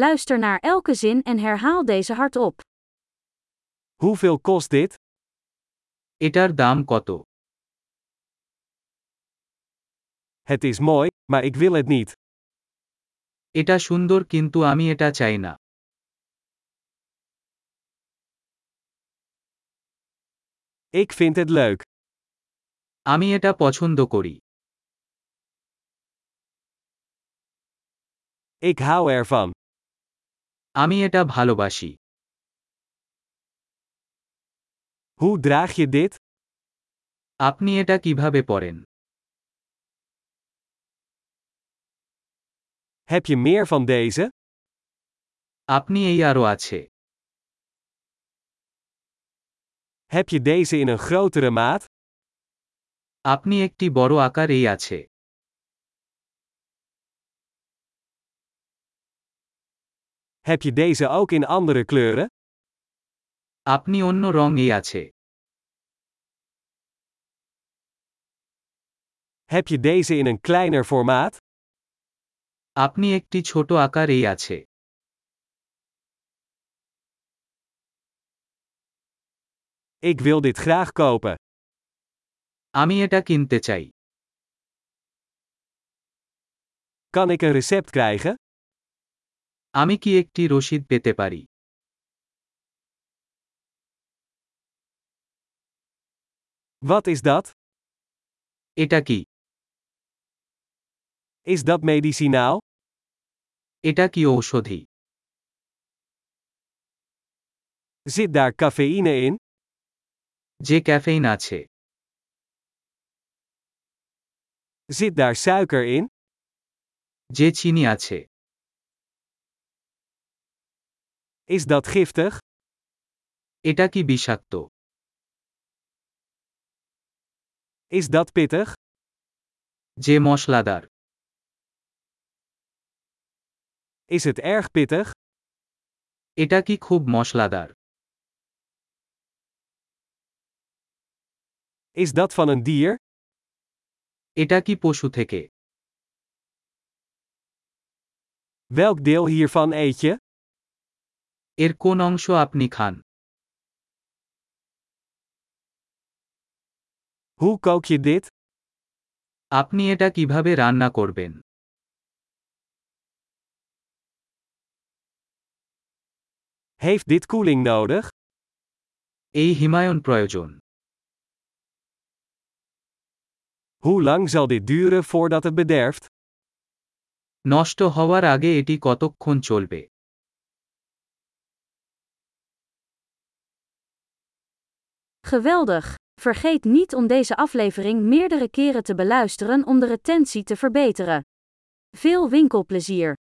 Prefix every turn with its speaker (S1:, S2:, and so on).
S1: Luister naar elke zin en herhaal deze hardop.
S2: hoeveel kost dit?
S3: এটার দাম কত
S2: Het is mooi, maar ik wil het niet.
S3: এটা সুন্দর কিন্তু আমি এটা চাই না
S2: Ik vind het leuk.
S3: আমি এটা পছন্দ করি
S2: Ik hou ervan.
S3: আমি এটা ভালোবাসি
S2: Hoe draag je dit?
S3: আপনি এটা কিভাবে পরেন
S2: Heb je meer van deze?
S3: আপনি এই আরও আছে
S2: Heb je deze in een grotere maat?
S3: আপনি একটি বড় আকার এই আছে
S2: Heb je deze ook in andere kleuren?
S3: আপনি অন্য রং এই আছে
S2: Heb je deze in een kleiner formaat?
S3: আপনি একটি ছোট আকার এই আছে
S2: Ik wil dit graag kopen.
S3: আমি এটা কিনতে চাই
S2: Kan ik een recept krijgen?
S3: আমি কি একটি রসিদ পেতে পারি
S2: Wat is dat?
S3: এটা কি
S2: Is dat medicinaal?
S3: এটা কি ঔষধি
S2: Zit daar cafeïne in?
S3: যে ক্যাফেইন আছে
S2: Zit daar suiker in?
S3: যে চিনি আছে
S2: Is dat giftig?
S3: এটা কি বিষাক্ত
S2: Is dat pittig?
S3: যে মশলাদার
S2: Is het erg pittig?
S3: এটা কি খুব মশলাদার
S2: Is dat van een dier?
S3: এটা কি পশু থেকে
S2: Welk deel hiervan eet je?
S3: এর কোন অংশ আপনি খান
S2: Hoe kook je dit?
S3: আপনি এটা কিভাবে রান্না করবেন
S2: Heeft dit koeling nodig?
S3: এই হিমায়ন প্রয়োজন
S2: Hoe lang zal dit duren voordat het bederft?
S3: নষ্ট হওয়ার আগে এটি কতক্ষণ চলবে
S1: Geweldig! Vergeet niet om deze aflevering meerdere keren te beluisteren om de retentie te verbeteren. Veel winkelplezier!